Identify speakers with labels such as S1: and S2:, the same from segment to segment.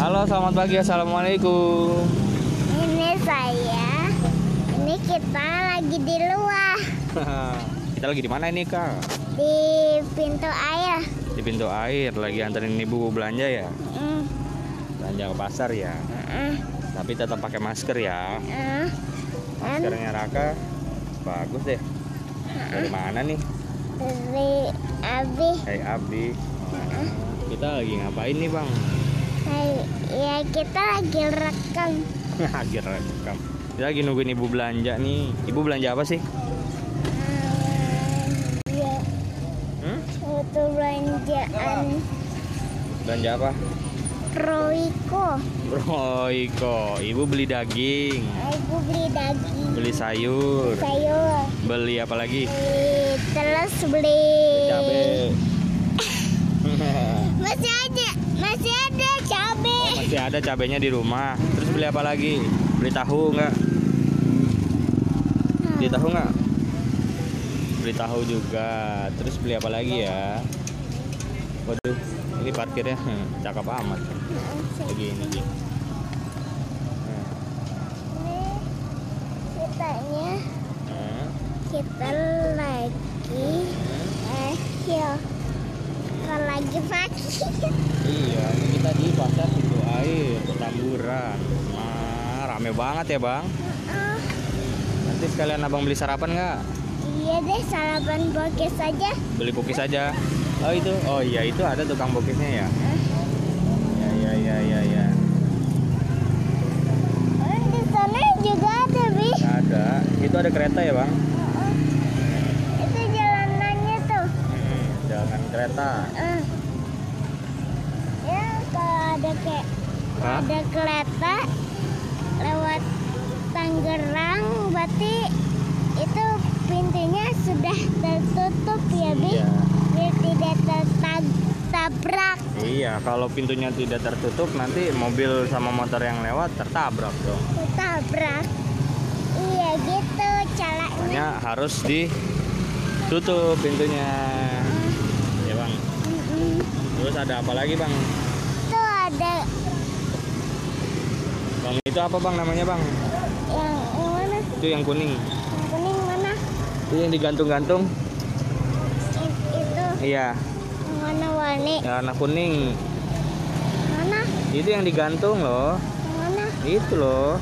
S1: Halo, selamat pagi. Assalamualaikum.
S2: Ini saya. Ini kita lagi di luar
S1: Kita lagi di mana ini, Kak?
S2: di pintu air.
S1: Di pintu air, lagi anterin ibu belanja ya?
S2: Mm,
S1: Belanja ke pasar ya.
S2: mm,
S1: Tapi tetap pakai masker ya.
S2: mm. Kan
S1: Maskernya Raka bagus deh. Dari mana nih?
S2: dari Abi
S1: Kayak Abdi. Kita lagi ngapain nih, Bang?
S2: Hai- ya kita lagi rekam
S1: Lagi rekam. Kita lagi nungguin ibu belanja nih. Ibu belanja apa sih?
S2: Mm, ya,
S1: Hmm?
S2: suatu belanjaan
S1: Belanja apa?
S2: Roiko.
S1: Royko. Ibu beli daging,
S2: Aku beli daging,
S1: beli sayur,
S2: sayur,
S1: beli apa lagi?
S2: beli terus beli.
S1: cabe
S2: Masih ada, masih ada cabe.
S1: masih ada cabenya di rumah terus beli apa lagi beli tahu nggak beli tahu nggak beli tahu juga terus beli apa lagi ya waduh ini parkirnya cakep amat lagi ini lagi Nah,
S2: Ini kitanya
S1: eh,
S2: kita lagi akhir kalau lagi pagi
S1: iya ini kita di pasar pintu air petamburan nah, rame banget ya bang
S2: Ah,
S1: nanti sekalian abang beli sarapan nggak
S2: iya deh sarapan bokeh saja
S1: beli pokis aja oh itu oh iya itu ada tukang pokisnya ya ya ya ya ya ya
S2: oh, di sana juga ada bi
S1: ada itu ada kereta ya bang
S2: Oh, itu jalanannya tuh
S1: jalan Hmm, kereta
S2: Ah. ya kalau ada kayak
S1: Hah?
S2: ada kereta lewat Tangerang berarti itu pintunya sudah tertutup ya bi
S1: iya
S2: biar tidak tertabrak
S1: iya kalau pintunya tidak tertutup nanti mobil sama motor yang lewat tertabrak dong
S2: tertabrak iya gitu caranya
S1: makanya harus ditutup pintunya ya bang
S2: Mm-mm.
S1: terus ada apa lagi bang
S2: tuh ada
S1: bang itu apa bang namanya bang
S2: yang yang mana
S1: itu yang kuning
S2: yang kuning mana
S1: itu yang digantung-gantung
S2: I- itu
S1: iya
S2: yang warna-warni
S1: yang warna kuning
S2: mana
S1: itu yang digantung loh
S2: yang mana
S1: Itu loh.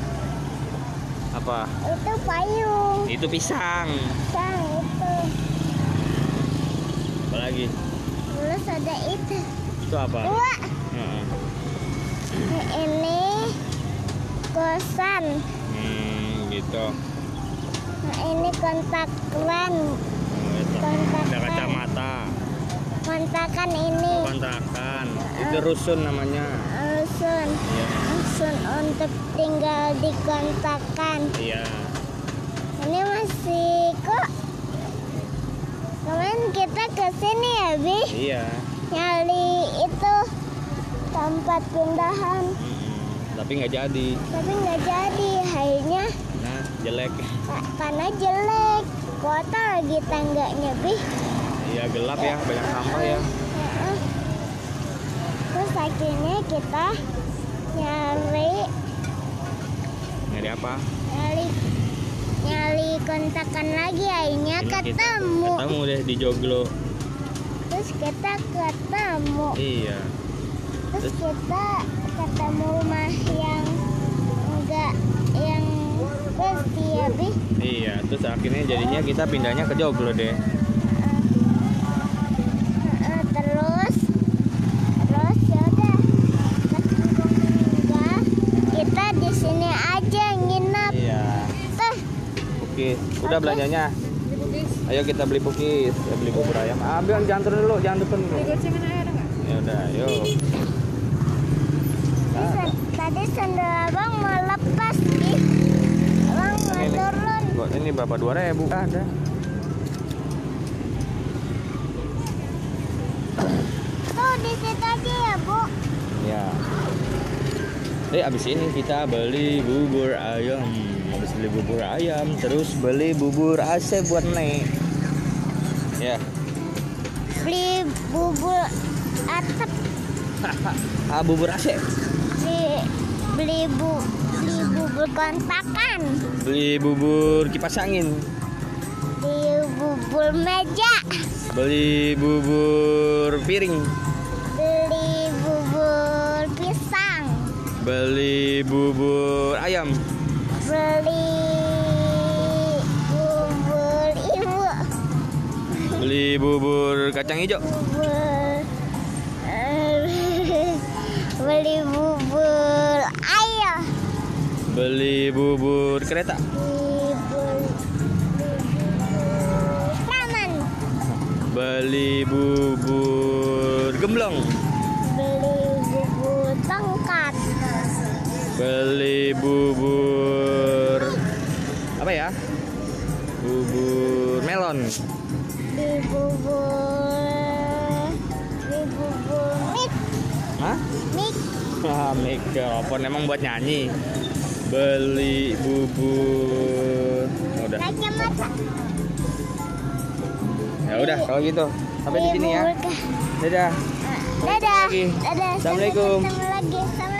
S1: Apa?
S2: itu payung
S1: Itu pisang.
S2: sang itu
S1: Apa lagi?
S2: terus ada itu
S1: Itu apa?
S2: dua
S1: Heeh.
S2: ini kosan
S1: Hmm, gitu.
S2: Nah, ini kontak lens
S1: Ada
S2: Kontakan.
S1: kacamata,
S2: kontakan ini
S1: kontrakan. Itu rusun namanya.
S2: rusun
S1: Iya.
S2: rusun untuk tinggal di kontakan
S1: Iya.
S2: ini masih kok kemarin kita ke sini ya bi
S1: Iya.
S2: nyari itu tempat pindahan
S1: Mm-mm. Hmm. Tapi nggak jadi.
S2: tapi nggak jadi akhirnya
S1: Nah, jelek.
S2: ka- karena jelek kotor lagi tangganya bi
S1: Iya, gelap ya, banyak sampah ya.
S2: Heeh. terus akhirnya kita nyari
S1: Nyari apa?
S2: nyari nyari kontakan lagi akhirnya
S1: Ini kita
S2: Nah, ketemu
S1: Ketemu deh di Joglo.
S2: terus kita ketemu
S1: Iya.
S2: terus kita ketemu rumah yang enggak yang pasti ya bi
S1: Iya, terus akhirnya jadinya kita pindahnya ke Joglo deh.
S2: Heeh, terus terus ya udah enggak kita di sini aja nginep
S1: Iya.
S2: tuh
S1: Oke, udah
S2: Oke.
S1: belanjanya. Ayo kita beli pukis, ya, beli bubur ayam. Ambil jangan turun dulu, jangan turun dulu. Ya udah, yuk.
S2: Tadi sen- tadi sendal abang mau lepas bi abang mau
S1: Ini, ini.
S2: turun
S1: Kok ini berapa dua ribu? Ada.
S2: tuh di situ aja ya bu
S1: Ya. Eh, abis ini kita beli bubur ayam. Habis beli bubur ayam, terus beli bubur AC buat Nek. Ya,
S2: beli bubur atap
S1: ah, bubur AC.
S2: beli beli bu beli bubur kontakan
S1: Beli bubur kipas angin.
S2: beli bubur meja
S1: Beli bubur piring.
S2: beli bubur pisang
S1: Beli bubur ayam.
S2: beli bubur ibu
S1: Beli bubur kacang hijau.
S2: bubur eh, beli bubur ayam
S1: Beli bubur kereta.
S2: beli bubur taman
S1: Beli bubur gemblong.
S2: beli bubur tongkat
S1: Beli bubur apa ya? Bubur melon.
S2: beli bubur beli bubur mik
S1: Hah?
S2: mik
S1: Ah, mikrofon emang buat nyanyi. Beli bubur. Oh, udah.
S2: kacamata
S1: Ya udah kalau gitu. Sampai di sini ya.
S2: Beli bubur ke-
S1: Dadah.
S2: dadah
S1: Lagi.
S2: dadah sampai
S1: Assalamualaikum.
S2: ketemu lagi Assalamualaikum.